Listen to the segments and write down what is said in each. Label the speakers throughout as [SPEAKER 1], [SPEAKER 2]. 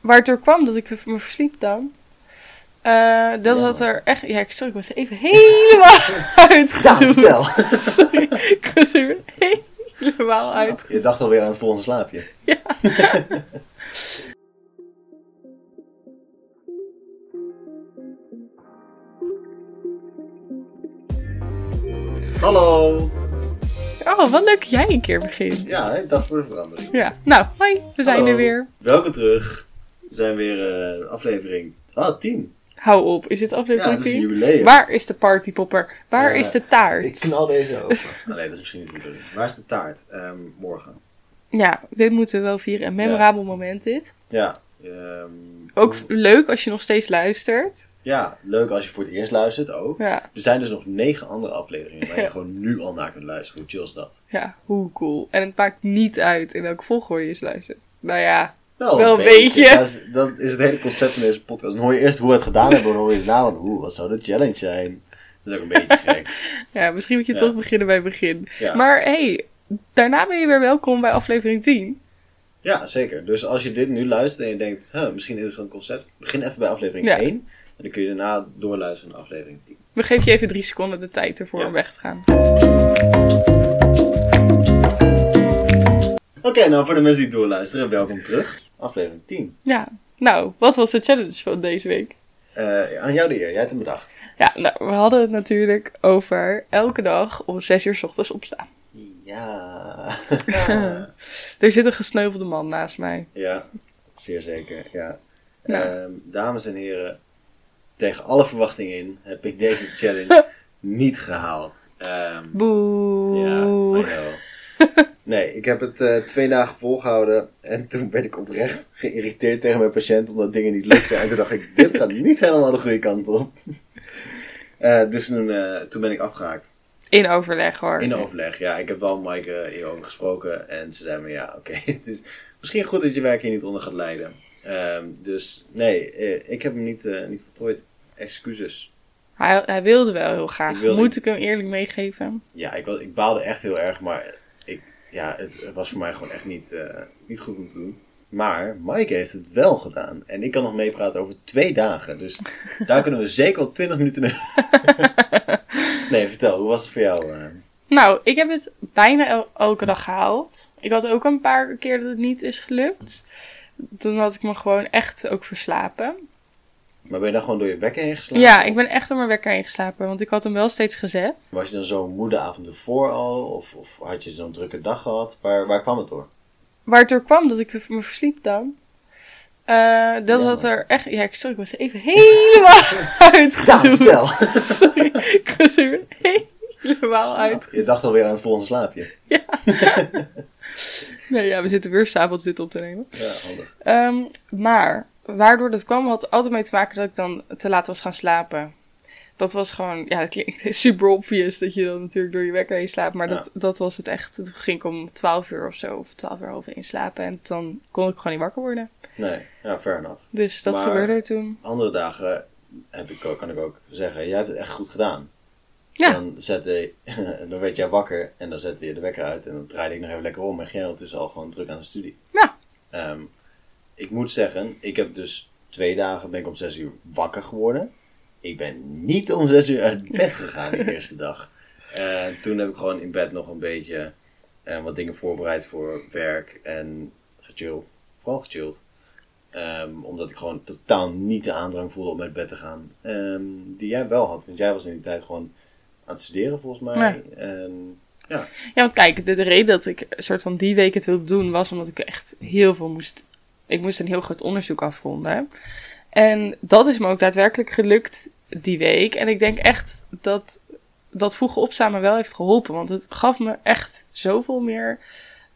[SPEAKER 1] waar het door kwam dat ik me versliep dan. eh, dat had er echt... Ja, ik- sorry, ik was er even helemaal
[SPEAKER 2] Ja,
[SPEAKER 1] uitgezoomd.
[SPEAKER 2] vertel.
[SPEAKER 1] Sorry, ik was er weer helemaal uit.
[SPEAKER 2] Je dacht alweer aan het volgende slaapje. Hallo!
[SPEAKER 1] Oh, wat leuk dat jij een keer begint.
[SPEAKER 2] Ja, ik dacht voor de verandering.
[SPEAKER 1] Ja, nou, hoi, we zijn
[SPEAKER 2] Hallo.
[SPEAKER 1] er weer.
[SPEAKER 2] Welkom terug. We zijn weer eh, aflevering. Ah, 10.
[SPEAKER 1] Hou op, is dit
[SPEAKER 2] Ja,
[SPEAKER 1] aflevering
[SPEAKER 2] dat is Eh, een
[SPEAKER 1] 10?
[SPEAKER 2] jubileum.
[SPEAKER 1] Waar is de partypopper? Waar
[SPEAKER 2] Ja,
[SPEAKER 1] is de taart?
[SPEAKER 3] Ik knal deze open.
[SPEAKER 2] Ah, Nee, dat is misschien niet de bedoeling. Waar is de taart? Ehm, morgen.
[SPEAKER 1] Ja, dit moeten we wel vieren. Een memorabel moment dit.
[SPEAKER 2] Ja. ehm,
[SPEAKER 1] Ook leuk als je nog steeds luistert.
[SPEAKER 2] Ja, leuk als je voor het eerst luistert ook.
[SPEAKER 1] Ja,
[SPEAKER 2] Er zijn dus nog negen andere afleveringen waar je gewoon nu al naar kunt luisteren. Hoe chill is dat?
[SPEAKER 1] ja, hoe cool. En het maakt niet uit in welke volgorde je eens luistert. Nou ja,
[SPEAKER 2] Wel,
[SPEAKER 1] Wel een beetje.
[SPEAKER 2] Dat is, dat is het hele concept van deze podcast. Dan hoor je eerst hoe we het gedaan hebben. Dan hoor je daarna van, oeh, wat zou de challenge zijn? Dat is ook een beetje gek.
[SPEAKER 1] ja misschien moet je
[SPEAKER 2] Ja.
[SPEAKER 1] toch beginnen bij het begin.
[SPEAKER 2] Ja.
[SPEAKER 1] Maar hey, daarna ben je weer welkom bij aflevering 10.
[SPEAKER 2] Ja, zeker. Dus als je dit nu luistert en je denkt, huh, misschien een interessant concept. Begin even bij aflevering
[SPEAKER 1] Ja.
[SPEAKER 2] 1. En dan kun je daarna doorluisteren naar aflevering 10.
[SPEAKER 1] We geven je even drie seconden de tijd ervoor
[SPEAKER 2] Ja.
[SPEAKER 1] om weg te gaan.
[SPEAKER 2] Oké, nou voor de mensen die doorluisteren, welkom terug. Aflevering 10.
[SPEAKER 1] Ja, nou, wat was de challenge van deze week?
[SPEAKER 2] Eh, aan jou de eer, jij hebt hem bedacht.
[SPEAKER 1] Ja, nou, we hadden het natuurlijk over elke dag om 6 uur 's ochtends opstaan.
[SPEAKER 2] Ja.
[SPEAKER 1] Er zit een gesneuvelde man naast mij.
[SPEAKER 2] Ja, zeer zeker. Ja.
[SPEAKER 1] Nou.
[SPEAKER 2] Ehm, dames en heren, tegen alle verwachtingen in heb ik deze challenge niet gehaald. Ehm,
[SPEAKER 1] Boe.
[SPEAKER 2] ja, I know. Nee, ik heb het eh, twee dagen volgehouden en toen ben ik oprecht geïrriteerd tegen mijn patiënt omdat dingen niet lukten. En toen dacht ik, dit gaat niet helemaal de goede kant op. Eh, dus toen, eh, toen ben ik afgehaakt.
[SPEAKER 1] In overleg hoor.
[SPEAKER 2] In overleg, ja. Ik heb wel met Maaike hierover gesproken. En ze zei me, ja, oké, het is misschien goed dat je werk hier niet onder gaat leiden. Ehm, dus nee, eh, ik heb hem niet, eh, niet voltooid. Excuses.
[SPEAKER 1] Hij, hij wilde wel heel graag.
[SPEAKER 2] Ik wilde-
[SPEAKER 1] Moet ik hem eerlijk meegeven?
[SPEAKER 2] Ja, ik, wa- ik baalde echt heel erg, maar ik, ja, het, het was voor mij gewoon echt niet, eh, niet goed om te doen. Maar Maaike heeft het wel gedaan. En ik kan nog meepraten over twee dagen. Dus daar kunnen we zeker al twintig minuten mee. nee, vertel, hoe was het voor jou? eh?
[SPEAKER 1] Nou, ik heb het bijna el- elke dag gehaald. Ik had ook een paar keer dat het niet is gelukt. Toen had ik me gewoon echt ook verslapen.
[SPEAKER 2] Maar ben je dan gewoon door je wekker heen geslagen?
[SPEAKER 1] Ja, ik ben echt door mijn wekker heen geslapen, want ik had hem wel steeds gezet.
[SPEAKER 2] Was je dan zo'n moede avond ervoor al? Of, of had je zo'n drukke dag gehad? Waar, waar kwam het door?
[SPEAKER 1] Waar het door kwam dat ik me versliep dan. Eh, dat
[SPEAKER 2] Ja,
[SPEAKER 1] had er echt... Ja, ik, sorry, ik was er even helemaal
[SPEAKER 2] Ja,
[SPEAKER 1] uitgezoomd.
[SPEAKER 2] vertel!
[SPEAKER 1] Sorry, ik was er weer helemaal uit.
[SPEAKER 2] Je dacht alweer aan het volgende slaapje.
[SPEAKER 1] Nee, ja, we zitten weer s'avonds dit op te nemen.
[SPEAKER 2] Ja, handig.
[SPEAKER 1] Ehm, maar waardoor dat kwam had altijd mee te maken dat ik dan te laat was gaan slapen. Dat was gewoon, ja, dat klinkt super obvious dat je dan natuurlijk door je wekker heen slaapt. Maar
[SPEAKER 2] Ja.
[SPEAKER 1] dat, dat was het echt. Toen ging ik om 12 uur of zo, of 12 uur half één slapen. En dan kon ik gewoon niet wakker worden.
[SPEAKER 2] Nee, ja, fair enough.
[SPEAKER 1] Dus dat
[SPEAKER 2] Maar-
[SPEAKER 1] gebeurde er toen.
[SPEAKER 2] Andere dagen heb ik, ook- kan ik ook zeggen, jij hebt het echt goed gedaan.
[SPEAKER 1] Ja.
[SPEAKER 2] Dan, zette, dan werd jij wakker en dan zette je de wekker uit en dan draaide ik nog even lekker om. En Gerald is al gewoon druk aan de studie.
[SPEAKER 1] Ja.
[SPEAKER 2] Ehm, ik moet zeggen, ik heb dus twee dagen ben ik om zes uur wakker geworden. Ik ben niet om zes uur uit bed gegaan de eerste dag. Eh, toen heb ik gewoon in bed nog een beetje eh, wat dingen voorbereid voor werk en gechilled. Vooral gechilled. Ehm, omdat ik gewoon totaal niet de aandrang voelde om uit bed te gaan. Ehm, die jij wel had, want jij was in die tijd gewoon aan het studeren volgens mij. En, ja.
[SPEAKER 1] Ja, want kijk, de, de reden dat ik een soort van die week het wilde doen was omdat ik echt heel veel moest. Ik moest een heel groot onderzoek afronden. En dat is me ook daadwerkelijk gelukt die week. En ik denk echt dat dat vroege opstaan me wel heeft geholpen. Want het gaf me echt zoveel meer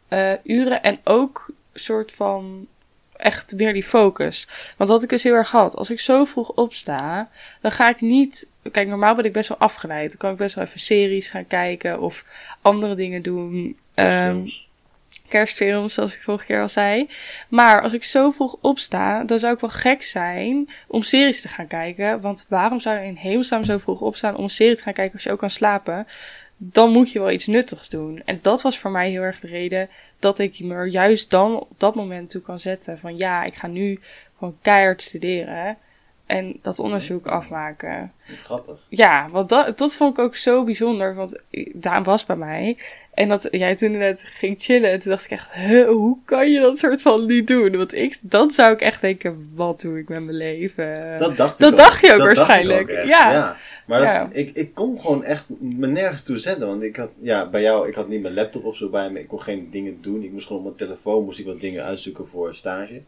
[SPEAKER 1] eh, uren en ook soort van echt meer die focus. Want wat ik dus heel erg had, als ik zo vroeg opsta, dan ga ik niet. Kijk, normaal ben ik best wel afgeleid. Dan kan ik best wel even series gaan kijken of andere dingen doen. Ehm,
[SPEAKER 2] kerstfilms.
[SPEAKER 1] kerstfilms, zoals ik vorige keer al zei. Maar als ik zo vroeg opsta, dan zou ik wel gek zijn om series te gaan kijken. Want waarom zou je in hemelsnaam zo vroeg opstaan om een serie te gaan kijken als je ook kan slapen? dan moet je wel iets nuttigs doen. En dat was voor mij heel erg de reden dat ik me er juist dan op dat moment toe kan zetten. Van ja, ik ga nu gewoon keihard studeren en dat onderzoek afmaken.
[SPEAKER 2] Wat grappig.
[SPEAKER 1] Ja, want dat, dat vond ik ook zo bijzonder, want Daan was bij mij. En dat jij toen net ging chillen, toen dacht ik echt, "Huh, hoe kan je dat soort van niet doen? Want ik, dan zou ik echt denken, wat doe ik met mijn leven?
[SPEAKER 2] Dat dacht
[SPEAKER 1] eh,
[SPEAKER 2] ik
[SPEAKER 1] Dat
[SPEAKER 2] ook.
[SPEAKER 1] dacht je ook
[SPEAKER 2] dacht ik
[SPEAKER 1] waarschijnlijk.
[SPEAKER 2] echt,
[SPEAKER 1] Ja.
[SPEAKER 2] Maar
[SPEAKER 1] Ja.
[SPEAKER 2] Dat, ik, ik kon gewoon echt me nergens toe zetten. Want ik had, ja, bij jou, ik had niet mijn laptop of zo bij me. Ik kon geen dingen doen. Ik moest gewoon op mijn telefoon moest ik wat dingen uitzoeken voor stage.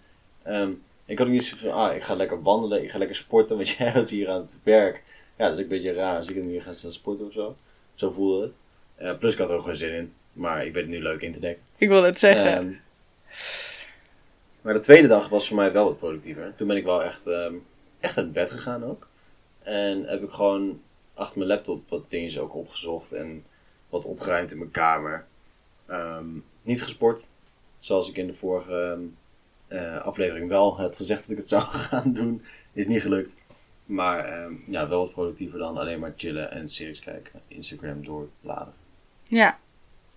[SPEAKER 2] Ehm, ik had ook niet zo van, ah, ik ga lekker wandelen, ik ga lekker sporten. Want jij was hier aan het werk. Ja, dat is een beetje raar als ik dan hier ga staan sporten of zo. Zo voelde het. Eh, plus ik had er ook geen zin in. Maar ik ben het nu leuk in te denken.
[SPEAKER 1] Ik wil het eh. zeggen.
[SPEAKER 2] Ehm, maar de tweede dag was voor mij wel wat productiever. Toen ben ik wel echt, ehm, echt uit bed gegaan ook. En heb ik gewoon achter mijn laptop wat dingetjes ook opgezocht en wat opgeruimd in mijn kamer. Ehm, niet gesport, zoals ik in de vorige ehm, eh, aflevering wel had gezegd dat ik het zou gaan doen. Is niet gelukt. Maar ehm, ja, wel wat productiever dan alleen maar chillen en series kijken. Instagram doorbladeren.
[SPEAKER 1] ja.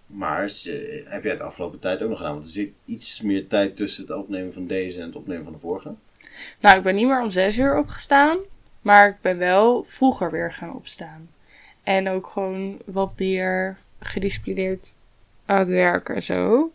[SPEAKER 2] Maar ze- heb jij het de afgelopen tijd ook nog gedaan? Want er zit iets meer tijd tussen het opnemen van deze en het opnemen van de vorige.
[SPEAKER 1] Nou, ik ben niet meer om zes uur opgestaan, maar ik ben wel vroeger weer gaan opstaan. En ook gewoon wat meer gedisciplineerd aan het werken en zo.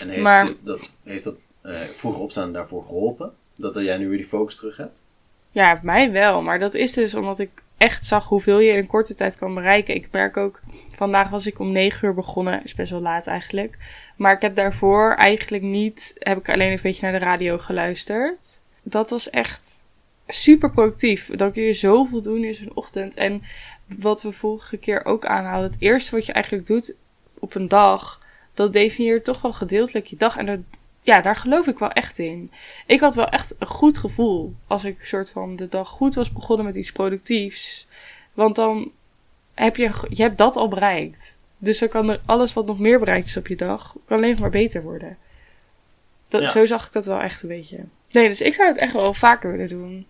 [SPEAKER 2] En heeft
[SPEAKER 1] Maar-
[SPEAKER 2] dit- dat, heeft dat eh, vroeger opstaan daarvoor geholpen? Dat jij nu weer die focus terug hebt?
[SPEAKER 1] Ja, mij wel, maar dat is dus omdat ik echt zag hoeveel je in een korte tijd kan bereiken. Ik merk ook, vandaag was ik om negen uur begonnen, is best wel laat eigenlijk. Maar ik heb daarvoor eigenlijk niet, heb ik alleen een beetje naar de radio geluisterd. Dat was echt super productief. Dan kun je zoveel doen in zo'n ochtend. En wat we vorige keer ook aanhaalden, het eerste wat je eigenlijk doet op een dag, dat definieert toch wel gedeeltelijk je dag. En dat, ja, daar geloof ik wel echt in. Ik had wel echt een goed gevoel als ik soort van de dag goed was begonnen met iets productiefs. Want dan heb je, je hebt dat al bereikt. Dus dan kan er alles wat nog meer bereikt is op je dag, kan alleen nog maar beter worden. Dat,
[SPEAKER 2] Ja.
[SPEAKER 1] Zo zag ik dat wel echt een beetje. Nee, dus ik zou het echt wel vaker willen doen.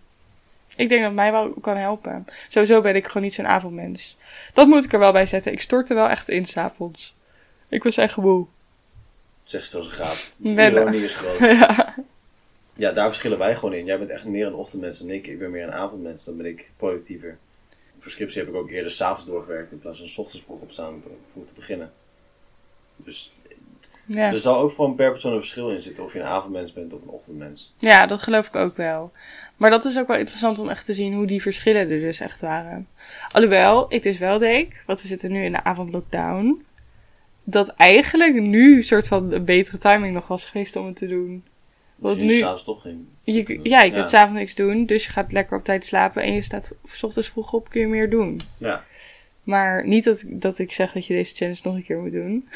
[SPEAKER 1] Ik denk dat het mij wel kan helpen. Sowieso ben ik gewoon niet zo'n avondmens. Dat moet ik er wel bij zetten. Ik stortte wel echt in s'avonds. Ik was echt moe.
[SPEAKER 2] Zeg ze zoals het gaat.
[SPEAKER 1] Nee,
[SPEAKER 2] De ironie is groot. Ja, daar verschillen wij gewoon in. Jij bent echt meer een ochtendmens dan ik. Ik ben meer een avondmens. Dan ben ik productiever. Voor scriptie heb ik ook eerder s'avonds doorgewerkt in plaats van 's ochtends vroeg opstaan om vroeg te beginnen. Dus
[SPEAKER 1] Ja.
[SPEAKER 2] er zal ook gewoon per persoon een verschil in zitten of je een avondmens bent of een ochtendmens.
[SPEAKER 1] ja, dat geloof ik ook wel. Maar dat is ook wel interessant om echt te zien hoe die verschillen er dus echt waren. Alhoewel, ik dus wel denk, want we zitten nu in de avondlockdown, dat eigenlijk nu soort van een betere timing nog was geweest om het te doen. Want
[SPEAKER 2] Dus je
[SPEAKER 1] nu,
[SPEAKER 2] s'avonds eh, toch ging.
[SPEAKER 1] je, ja, je kunt s'avonds niks doen, dus je gaat lekker op tijd slapen en je staat s ochtends vroeg op, kun je meer doen.
[SPEAKER 2] Ja.
[SPEAKER 1] Maar niet dat, dat ik zeg dat je deze challenge nog een keer moet doen.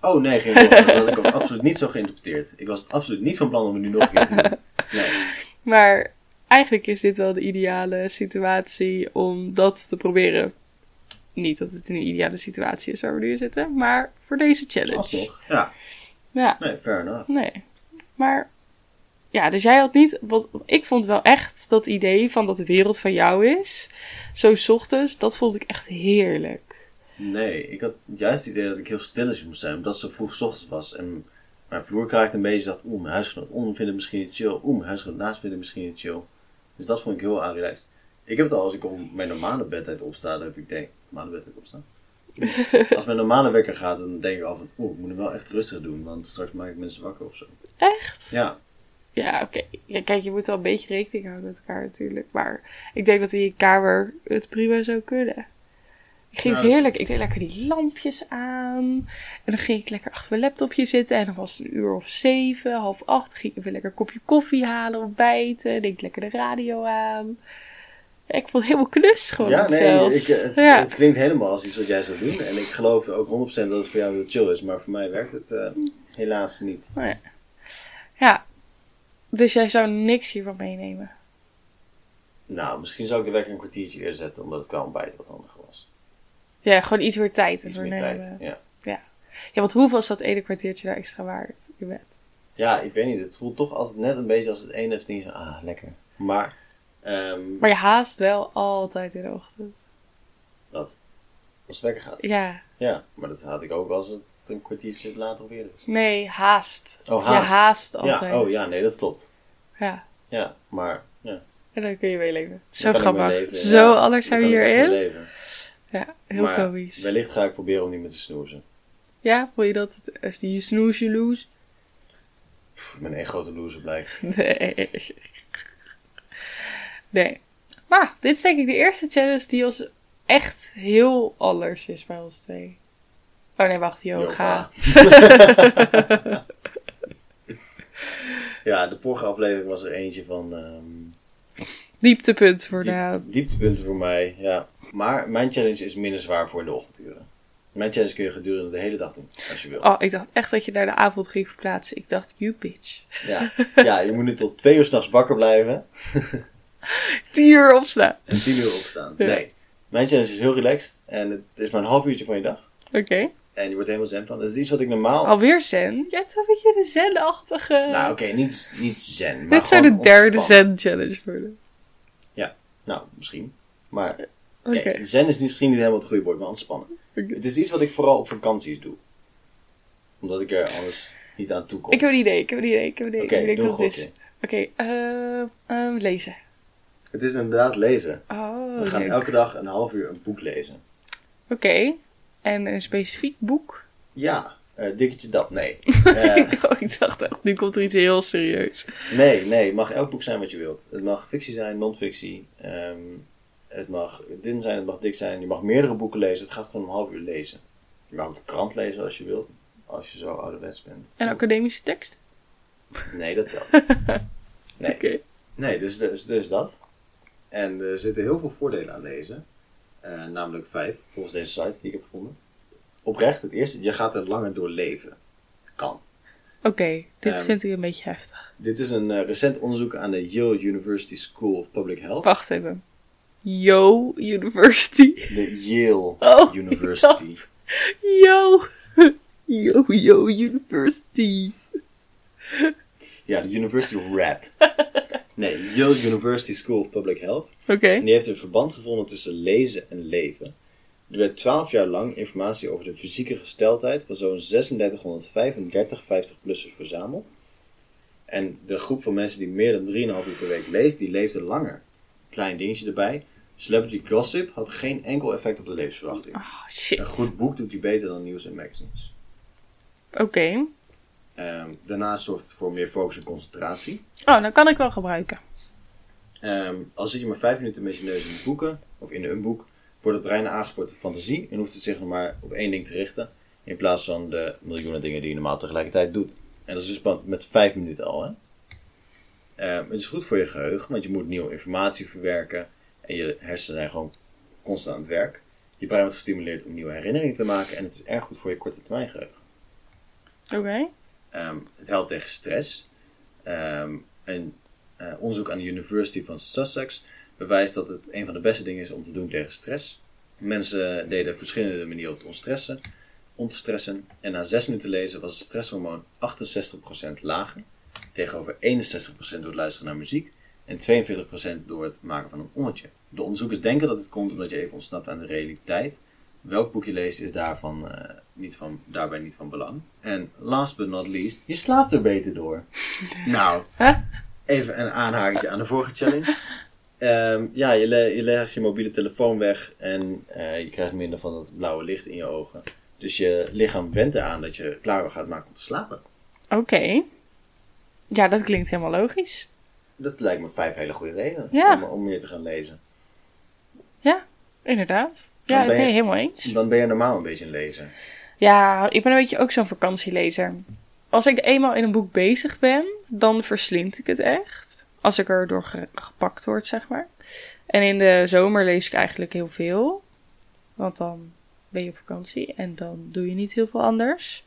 [SPEAKER 2] Oh nee, geen probleem. dat had ik ook absoluut niet zo geïnterpreteerd. Ik was het absoluut niet van plan om het nu nog een keer te doen. Nee.
[SPEAKER 1] Maar eigenlijk is dit wel de ideale situatie om dat te proberen. Niet dat het een ideale situatie is waar we nu in zitten, maar voor deze challenge.
[SPEAKER 2] Alsnog. Ja.
[SPEAKER 1] Ja,
[SPEAKER 2] Nee, fair enough.
[SPEAKER 1] nee. Maar ja, dus jij had niet. Wat, ik vond wel echt dat idee van dat de wereld van jou is. Zo 's ochtends, dat vond ik echt heerlijk.
[SPEAKER 2] Nee, ik had juist het idee dat ik heel stilletjes moest zijn, omdat het zo vroeg 's ochtends was. En mijn vloer kraakte een beetje, dacht, oeh, mijn huisgenoot om vindt het misschien niet chill. Oeh, mijn huisgenoot naast vindt het misschien niet chill. Dus dat vond ik heel aanrelaxed. Ik heb het al als ik om mijn normale bedtijd opsta, dat ik denk, normale bedtijd opstaan? Als mijn normale wekker gaat, dan denk ik al van, oeh, ik moet hem wel echt rustig doen, want straks maak ik mensen wakker of zo.
[SPEAKER 1] Echt?
[SPEAKER 2] Ja,
[SPEAKER 1] Ja, oké. Ja, kijk, je moet wel een beetje rekening houden met elkaar natuurlijk. Maar ik denk dat in je kamer het prima zou kunnen. Ik ging
[SPEAKER 2] Ja,
[SPEAKER 1] het
[SPEAKER 2] dat is-
[SPEAKER 1] heerlijk. Ik deed lekker die lampjes aan. En dan ging ik lekker achter mijn laptopje zitten. En dan was het een uur of zeven, half acht. Ging ik weer lekker een kopje koffie halen, ontbijten. Deed ik lekker de radio aan. Ja, ik vond het helemaal knus gewoon
[SPEAKER 2] Ja, nee,
[SPEAKER 1] zelfs.
[SPEAKER 2] ik, eh, het,
[SPEAKER 1] ja.
[SPEAKER 2] het klinkt helemaal als iets wat jij zou doen. En ik geloof ook 100% dat het voor jou heel chill is, maar voor mij werkt het eh, helaas niet.
[SPEAKER 1] Nou ja. ja. Dus jij zou niks hiervan meenemen.
[SPEAKER 2] Nou, misschien zou ik de wekker een kwartiertje eerder zetten, omdat het qua ontbijt wat handiger was.
[SPEAKER 1] Ja, gewoon iets meer tijd.
[SPEAKER 2] Iets
[SPEAKER 1] ervoor
[SPEAKER 2] meer
[SPEAKER 1] nemen.
[SPEAKER 2] tijd, ja.
[SPEAKER 1] Ja, want hoeveel is dat ene kwartiertje daar extra waard? Je bed?
[SPEAKER 2] Ja, ik weet niet, het voelt toch altijd net een beetje als het ene of ding zo, ah, lekker. Maar, ehm
[SPEAKER 1] Maar je haast wel altijd in de ochtend.
[SPEAKER 2] dat. Als het lekker gaat.
[SPEAKER 1] Ja.
[SPEAKER 2] Ja, maar dat had ik ook als het een kwartiertje later of eerder is.
[SPEAKER 1] Nee, haast.
[SPEAKER 2] Oh, haast.
[SPEAKER 1] Je haast altijd.
[SPEAKER 2] Ja, oh ja, nee, dat klopt.
[SPEAKER 1] Ja.
[SPEAKER 2] Ja, maar... Ja,
[SPEAKER 1] En dan kun je weer leven. Zo
[SPEAKER 2] dan kan ik
[SPEAKER 1] grappig.
[SPEAKER 2] mee leven,
[SPEAKER 1] Zo
[SPEAKER 2] ja.
[SPEAKER 1] anders zijn we
[SPEAKER 2] Dan kan ik echt mee
[SPEAKER 1] hierin.
[SPEAKER 2] leven.
[SPEAKER 1] Ja, heel
[SPEAKER 2] maar
[SPEAKER 1] komisch.
[SPEAKER 2] wellicht ga ik proberen om niet meer te snoezen.
[SPEAKER 1] Ja, voel je dat? Het, als die je snoes, je loes.
[SPEAKER 2] Pff, ik ben één grote loser blijkt.
[SPEAKER 1] Nee. Nee. Maar dit is denk ik de eerste challenge die ons echt heel anders is bij ons twee. Oh nee, wacht, yoga.
[SPEAKER 2] Yoga. Ja, de vorige aflevering was er eentje van ehm,
[SPEAKER 1] Dieptepunt voor de...
[SPEAKER 2] diep- dieptepunten voor mij. Ja. Maar mijn challenge is minder zwaar voor in de ochtenduren. Mijn challenge kun je gedurende de hele dag doen, als je wil.
[SPEAKER 1] Oh, ik dacht echt dat je naar de avond ging verplaatsen. Ik dacht, you bitch.
[SPEAKER 2] Ja. ja, je moet nu tot twee uur s'nachts wakker blijven
[SPEAKER 1] Tien uur opstaan.
[SPEAKER 2] en tien uur opstaan.
[SPEAKER 1] Ja.
[SPEAKER 2] Nee, mijn challenge is heel relaxed en het is maar een half uurtje van je dag.
[SPEAKER 1] Oké.
[SPEAKER 2] En je wordt er helemaal zen van. Dat is iets wat ik normaal...
[SPEAKER 1] Alweer zen? Ja, het is een beetje de zenachtige...
[SPEAKER 2] Nou, oké, niet, niet zen, maar
[SPEAKER 1] Eh, Dit zou de
[SPEAKER 2] gewoon
[SPEAKER 1] derde
[SPEAKER 2] ontspannen.
[SPEAKER 1] zen-challenge worden.
[SPEAKER 2] Nou, misschien. Maar
[SPEAKER 1] Oké.
[SPEAKER 2] Kijk, zen is misschien niet helemaal het goede woord, maar ontspannen.
[SPEAKER 1] Oké.
[SPEAKER 2] Het is iets wat ik vooral op vakanties doe. Omdat ik er anders niet aan toe kom.
[SPEAKER 1] Ik heb een idee, ik heb een idee, ik heb een idee.
[SPEAKER 2] Oké,
[SPEAKER 1] ik weet
[SPEAKER 2] doe
[SPEAKER 1] wat
[SPEAKER 2] een
[SPEAKER 1] het is. Oké, ehm ehm, lezen.
[SPEAKER 2] Het is inderdaad lezen.
[SPEAKER 1] Oh,
[SPEAKER 2] We gaan
[SPEAKER 1] leuk.
[SPEAKER 2] elke dag een half uur een boek lezen.
[SPEAKER 1] Oké, en een specifiek boek?
[SPEAKER 2] Ja, eh dikketje dat. Nee. Eh,
[SPEAKER 1] ik dacht echt, nu komt er iets heel serieus.
[SPEAKER 2] nee, nee. Het mag elk boek zijn wat je wilt. Het mag fictie zijn, non-fictie. ehm, het mag dun zijn, het mag dik zijn. Je mag meerdere boeken lezen. Het gaat gewoon een half uur lezen. Je mag ook de krant lezen als je wilt. Als je zo ouderwets bent.
[SPEAKER 1] Een academische tekst?
[SPEAKER 2] Nee, dat telt niet. Nee.
[SPEAKER 1] Oké.
[SPEAKER 2] Nee, dus, dus, dus dat. En er zitten heel veel voordelen aan lezen. Eh, namelijk vijf, volgens deze site die ik heb gevonden. Oprecht, het eerste, je gaat er langer door leven. Kan.
[SPEAKER 1] Oké, dit
[SPEAKER 2] Ehm.
[SPEAKER 1] vind ik een beetje heftig.
[SPEAKER 2] Dit is een eh, recent onderzoek aan de Yale University School of Public Health.
[SPEAKER 1] Wacht even. Yo, university.
[SPEAKER 2] De Yale
[SPEAKER 1] Oh,
[SPEAKER 2] University.
[SPEAKER 1] ik Yo. Yo, yo, university.
[SPEAKER 2] Ja, de University of Rap. Nee, Yale University School of Public Health.
[SPEAKER 1] Oké.
[SPEAKER 2] En die heeft een verband gevonden tussen lezen en leven. Er werd 12 jaar lang informatie over de fysieke gesteldheid van zo'n 3635 50-plussers verzameld. En de groep van mensen die meer dan 3,5 uur per week leest, die leefde langer. Klein dingetje erbij. Celebrity gossip had geen enkel effect op de levensverwachting.
[SPEAKER 1] Oh,
[SPEAKER 2] Een
[SPEAKER 1] shit.
[SPEAKER 2] goed boek doet je beter dan nieuws en magazines.
[SPEAKER 1] Oké.
[SPEAKER 2] Ehm, daarnaast zorgt het voor meer focus en concentratie.
[SPEAKER 1] Oh, dan kan ik wel gebruiken.
[SPEAKER 2] Ehm, al zit je maar vijf minuten met je neus in de boeken, of in een boek, wordt het brein aangespoord door fantasie en hoeft het zich nog maar op één ding te richten, in plaats van de miljoenen dingen die je normaal tegelijkertijd doet. En dat is dus maar met vijf minuten al, hè? Ehm, het is goed voor je geheugen, want je moet nieuwe informatie verwerken en je hersenen zijn gewoon constant aan het werk. Je brein wordt gestimuleerd om nieuwe herinneringen te maken en het is erg goed voor je korte termijn geheugen.
[SPEAKER 1] Oké.
[SPEAKER 2] Ehm, het helpt tegen stress. Ehm, een eh, onderzoek aan de University van Sussex bewijst dat het een van de beste dingen is om te doen tegen stress. Mensen deden verschillende manieren om te ontstressen. ontstressen. En na zes minuten lezen was het stresshormoon 68% lager. Tegenover 61% door het luisteren naar muziek. En 42% door het maken van een ommetje. De onderzoekers denken dat het komt omdat je even ontsnapt aan de realiteit. Welk boek je leest is daarvan, eh, niet van, daarbij niet van belang. En last but not least, je slaapt er beter door. Nou,
[SPEAKER 1] Huh?
[SPEAKER 2] even een aanhakertje aan de vorige challenge. Ehm, ja, je, le- je legt je mobiele telefoon weg en eh, je krijgt minder van dat blauwe licht in je ogen. Dus je lichaam wendt eraan dat je klaar gaat maken om te slapen.
[SPEAKER 1] Oké. Ja, dat klinkt helemaal logisch.
[SPEAKER 2] Dat lijkt me vijf hele goede redenen
[SPEAKER 1] Ja.
[SPEAKER 2] om, om meer te gaan lezen.
[SPEAKER 1] Ja, inderdaad. Ja,
[SPEAKER 2] Dan ben
[SPEAKER 1] ik ben
[SPEAKER 2] je-
[SPEAKER 1] je helemaal eens.
[SPEAKER 2] Dan ben je normaal een beetje een lezer.
[SPEAKER 1] Ja, ik ben een beetje ook zo'n vakantielezer. Als ik eenmaal in een boek bezig ben, dan verslind ik het echt. Als ik erdoor ge- gepakt word, zeg maar. En in de zomer lees ik eigenlijk heel veel. Want dan ben je op vakantie en dan doe je niet heel veel anders.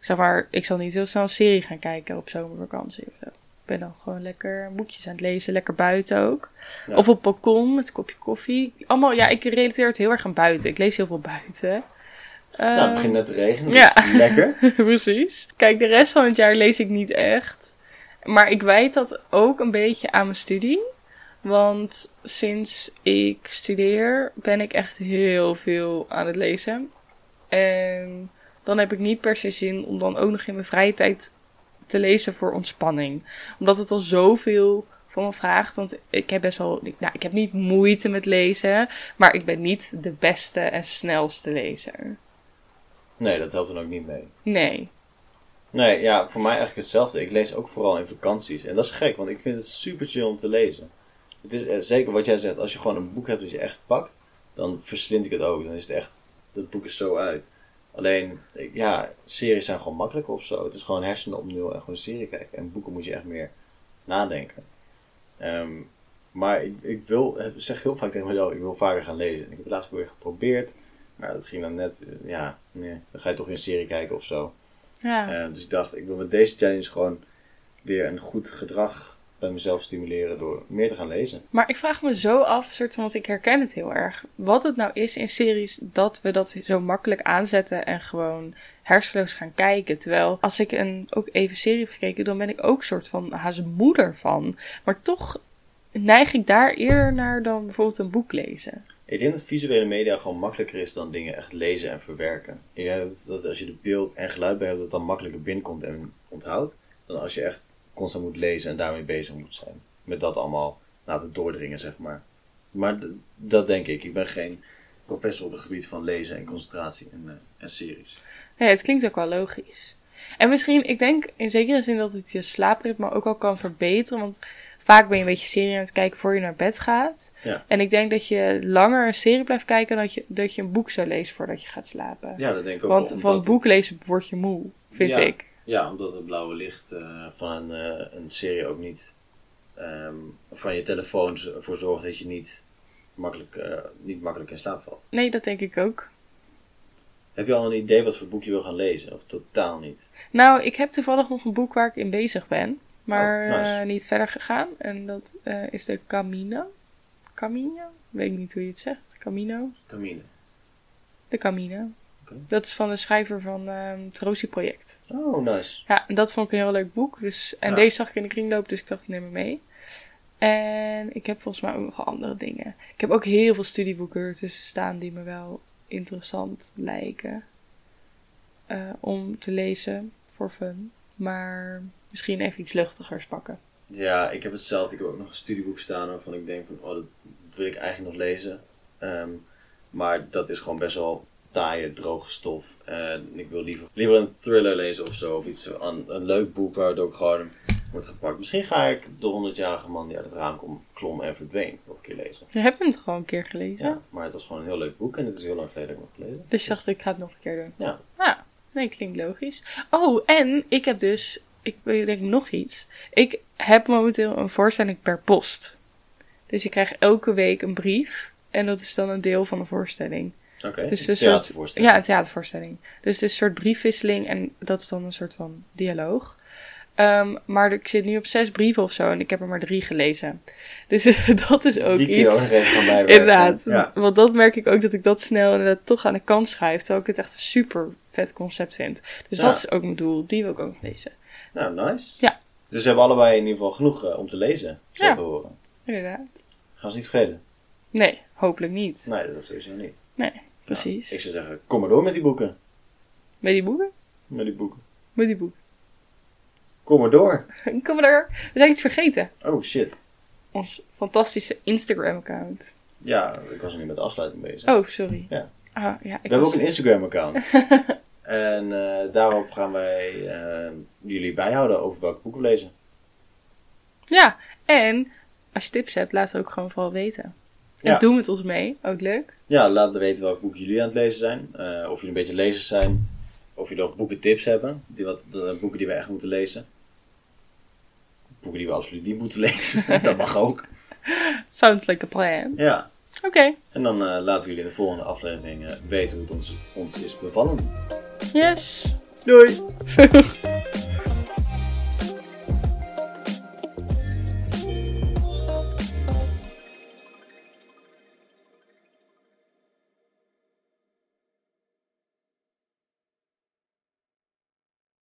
[SPEAKER 1] Zeg maar, ik zal niet heel snel een serie gaan kijken op zomervakantie of zo. Ik ben dan gewoon lekker boekjes aan het lezen, lekker buiten ook.
[SPEAKER 2] Ja.
[SPEAKER 1] Of op het balkon met een kopje koffie. Allemaal, ja, ik relateer het heel erg aan buiten. Ik lees heel veel buiten.
[SPEAKER 2] nou, het
[SPEAKER 1] Ehm,
[SPEAKER 2] begint net te regenen, dus
[SPEAKER 1] ja.
[SPEAKER 2] lekker.
[SPEAKER 1] Precies. Kijk, de rest van het jaar lees ik niet echt. Maar ik wijd dat ook een beetje aan mijn studie. Want sinds ik studeer ben ik echt heel veel aan het lezen. En dan heb ik niet per se zin om dan ook nog in mijn vrije tijd te lezen voor ontspanning. Omdat het al zoveel van me vraagt. Want ik heb best wel. ik- Nou, ik heb niet moeite met lezen. Maar ik ben niet de beste en snelste lezer.
[SPEAKER 2] Nee, dat helpt dan ook niet mee.
[SPEAKER 1] Nee.
[SPEAKER 2] Nee, ja, voor mij eigenlijk hetzelfde. Ik lees ook vooral in vakanties. En dat is gek, want ik vind het super chill om te lezen. Het is eh, zeker wat jij zegt, als je gewoon een boek hebt dat je echt pakt, dan verslind ik het ook. Dan is het echt, dat boek is zo uit. Alleen, ik- ja, series zijn gewoon makkelijker of zo. Het is gewoon hersenen opnieuw en gewoon een serie kijken. En boeken moet je echt meer nadenken. Ehm, maar ik, ik wil, eh, ik zeg heel vaak tegen mezelf, ik wil vaker gaan lezen. En ik heb het laatst weer geprobeerd, maar dat ging dan net, eh, ja, nee, dan ga je toch weer een serie kijken of zo.
[SPEAKER 1] Ja.
[SPEAKER 2] Eh, dus ik dacht, ik wil met deze challenge gewoon weer een goed gedrag bij mezelf stimuleren door meer te gaan lezen.
[SPEAKER 1] Maar ik vraag me zo af, soort van, want ik herken het heel erg. Wat het nou is in series dat we dat zo makkelijk aanzetten en gewoon hersenloos gaan kijken. Terwijl als ik een, ook even serie heb gekeken, dan ben ik ook soort van haast moeder van. Maar toch neig ik daar eerder naar dan bijvoorbeeld een boek lezen.
[SPEAKER 2] Ik denk dat visuele media gewoon makkelijker is dan dingen echt lezen en verwerken. Ik denk dat, dat als je de beeld en geluid bij hebt, dat het dan makkelijker binnenkomt en onthoudt. Dan als je echt constant moet lezen en daarmee bezig moet zijn. Met dat allemaal laten doordringen, zeg maar. Maar d- dat denk ik. Ik ben geen professor op het gebied van lezen en concentratie en, eh, en series.
[SPEAKER 1] Nee, het klinkt ook wel logisch. En misschien, ik denk in zekere zin dat het je slaapritme ook al kan verbeteren. Want vaak ben je een beetje serie aan het kijken voor je naar bed gaat.
[SPEAKER 2] Ja.
[SPEAKER 1] En ik denk dat je langer een serie blijft kijken dan dat je, dat je een boek zou lezen voordat je gaat slapen.
[SPEAKER 2] Ja, dat denk ik ook.
[SPEAKER 1] Want
[SPEAKER 2] wel,
[SPEAKER 1] van
[SPEAKER 2] omdat-
[SPEAKER 1] boek lezen word je moe, vind
[SPEAKER 2] Ja.
[SPEAKER 1] ik.
[SPEAKER 2] Ja, omdat het blauwe licht eh, van een, eh, een serie ook niet ehm, van je telefoon z- ervoor zorgt dat je niet makkelijk, eh, niet makkelijk in slaap valt.
[SPEAKER 1] Nee, dat denk ik ook.
[SPEAKER 2] Heb je al een idee wat voor boek je wil gaan lezen? Of totaal niet?
[SPEAKER 1] Nou, ik heb toevallig nog een boek waar ik in bezig ben. Maar
[SPEAKER 2] Oh, nice.
[SPEAKER 1] eh, niet verder gegaan. En dat eh, is de Camino. Camino? Weet ik niet hoe je het zegt. Camino.
[SPEAKER 2] Camine.
[SPEAKER 1] De Camino.
[SPEAKER 2] Oké.
[SPEAKER 1] Dat is van de schrijver van ehm het Rosie-project.
[SPEAKER 2] Oh, nice.
[SPEAKER 1] Ja, en dat vond ik een heel leuk boek. Dus, en
[SPEAKER 2] Ja.
[SPEAKER 1] deze zag ik in de kringloop, dus ik dacht, ik neem hem mee. En ik heb volgens mij ook nog andere dingen. Ik heb ook heel veel studieboeken ertussen staan die me wel interessant lijken. eh, om te lezen voor fun. Maar misschien even iets luchtigers pakken.
[SPEAKER 2] Ja, ik heb hetzelfde. Ik heb ook nog een studieboek staan waarvan ik denk van, oh, dat wil ik eigenlijk nog lezen. Ehm, maar dat is gewoon best wel taaie, droge stof. En ik wil liever, liever een thriller lezen of zo. Of iets, een, een leuk boek waar het ook gewoon wordt gepakt. Misschien ga ik de 100-jarige man die uit het raam kom, klom en verdween nog een keer lezen.
[SPEAKER 1] Je hebt hem toch al een keer gelezen?
[SPEAKER 2] Ja, maar het was gewoon een heel leuk boek en het is heel lang geleden dat ik hem heb gelezen.
[SPEAKER 1] Dus je dacht, ik ga het nog een keer doen.
[SPEAKER 2] Ja.
[SPEAKER 1] Ja, nee, klinkt logisch. Oh, en ik heb dus, ik denk nog iets. Ik heb momenteel een voorstelling per post. Dus ik krijg elke week een brief. En dat is dan een deel van de voorstelling.
[SPEAKER 2] Oké,
[SPEAKER 1] Dus het
[SPEAKER 2] een
[SPEAKER 1] is een soort-
[SPEAKER 2] theatervoorstelling.
[SPEAKER 1] Ja, een theatervoorstelling. Dus het is een soort briefwisseling en dat is dan een soort van dialoog. Ehm, maar ik zit nu op zes brieven of zo en ik heb er maar drie gelezen. Dus dat is ook
[SPEAKER 2] Die kun je ook
[SPEAKER 1] iets.
[SPEAKER 2] nog even gaan bijwerken.
[SPEAKER 1] Inderdaad.
[SPEAKER 2] eh, Ja.
[SPEAKER 1] Want dat merk ik ook dat ik dat snel inderdaad toch aan de kant schuif. Terwijl ik het echt een super vet concept vind. Dus
[SPEAKER 2] Ja.
[SPEAKER 1] dat is ook mijn doel. Die wil ik ook nog lezen.
[SPEAKER 2] Nou, nice.
[SPEAKER 1] Ja.
[SPEAKER 2] Dus we hebben allebei in ieder geval genoeg eh, om te lezen, zo
[SPEAKER 1] Ja.
[SPEAKER 2] te horen.
[SPEAKER 1] Inderdaad.
[SPEAKER 2] Gaan ze niet vergeten?
[SPEAKER 1] Nee, hopelijk niet.
[SPEAKER 2] Nee, dat sowieso niet.
[SPEAKER 1] Nee, precies.
[SPEAKER 2] Nou, ik zou zeggen, kom maar door met die boeken.
[SPEAKER 1] Met die boeken?
[SPEAKER 2] Met die boeken.
[SPEAKER 1] Met die boeken.
[SPEAKER 2] Kom maar door.
[SPEAKER 1] Kom maar er. We zijn iets vergeten.
[SPEAKER 2] Oh shit.
[SPEAKER 1] Ons fantastische Instagram-account.
[SPEAKER 2] Ja, ik was nog niet met de afsluiting bezig.
[SPEAKER 1] Oh, sorry.
[SPEAKER 2] Ja.
[SPEAKER 1] Ah, ja,
[SPEAKER 2] We
[SPEAKER 1] ik
[SPEAKER 2] hebben
[SPEAKER 1] was...
[SPEAKER 2] ook een Instagram-account. en eh, daarop gaan wij eh, jullie bijhouden over welke boeken we lezen.
[SPEAKER 1] Ja, en als je tips hebt, laat het ook gewoon vooral weten. En
[SPEAKER 2] Ja.
[SPEAKER 1] doe met ons mee. Ook leuk.
[SPEAKER 2] Ja, laat weten welke boeken jullie aan het lezen zijn. Eh, of jullie een beetje lezers zijn. Of jullie nog boekentips hebben. Die wat, de boeken die we echt moeten lezen. Boeken die we absoluut niet moeten lezen. dat mag ook.
[SPEAKER 1] Sounds like a plan.
[SPEAKER 2] Ja.
[SPEAKER 1] Oké.
[SPEAKER 2] En dan eh, laten we jullie in de volgende aflevering eh, weten hoe het ons, ons is bevallen.
[SPEAKER 1] Yes.
[SPEAKER 2] Doei!
[SPEAKER 1] Doeg.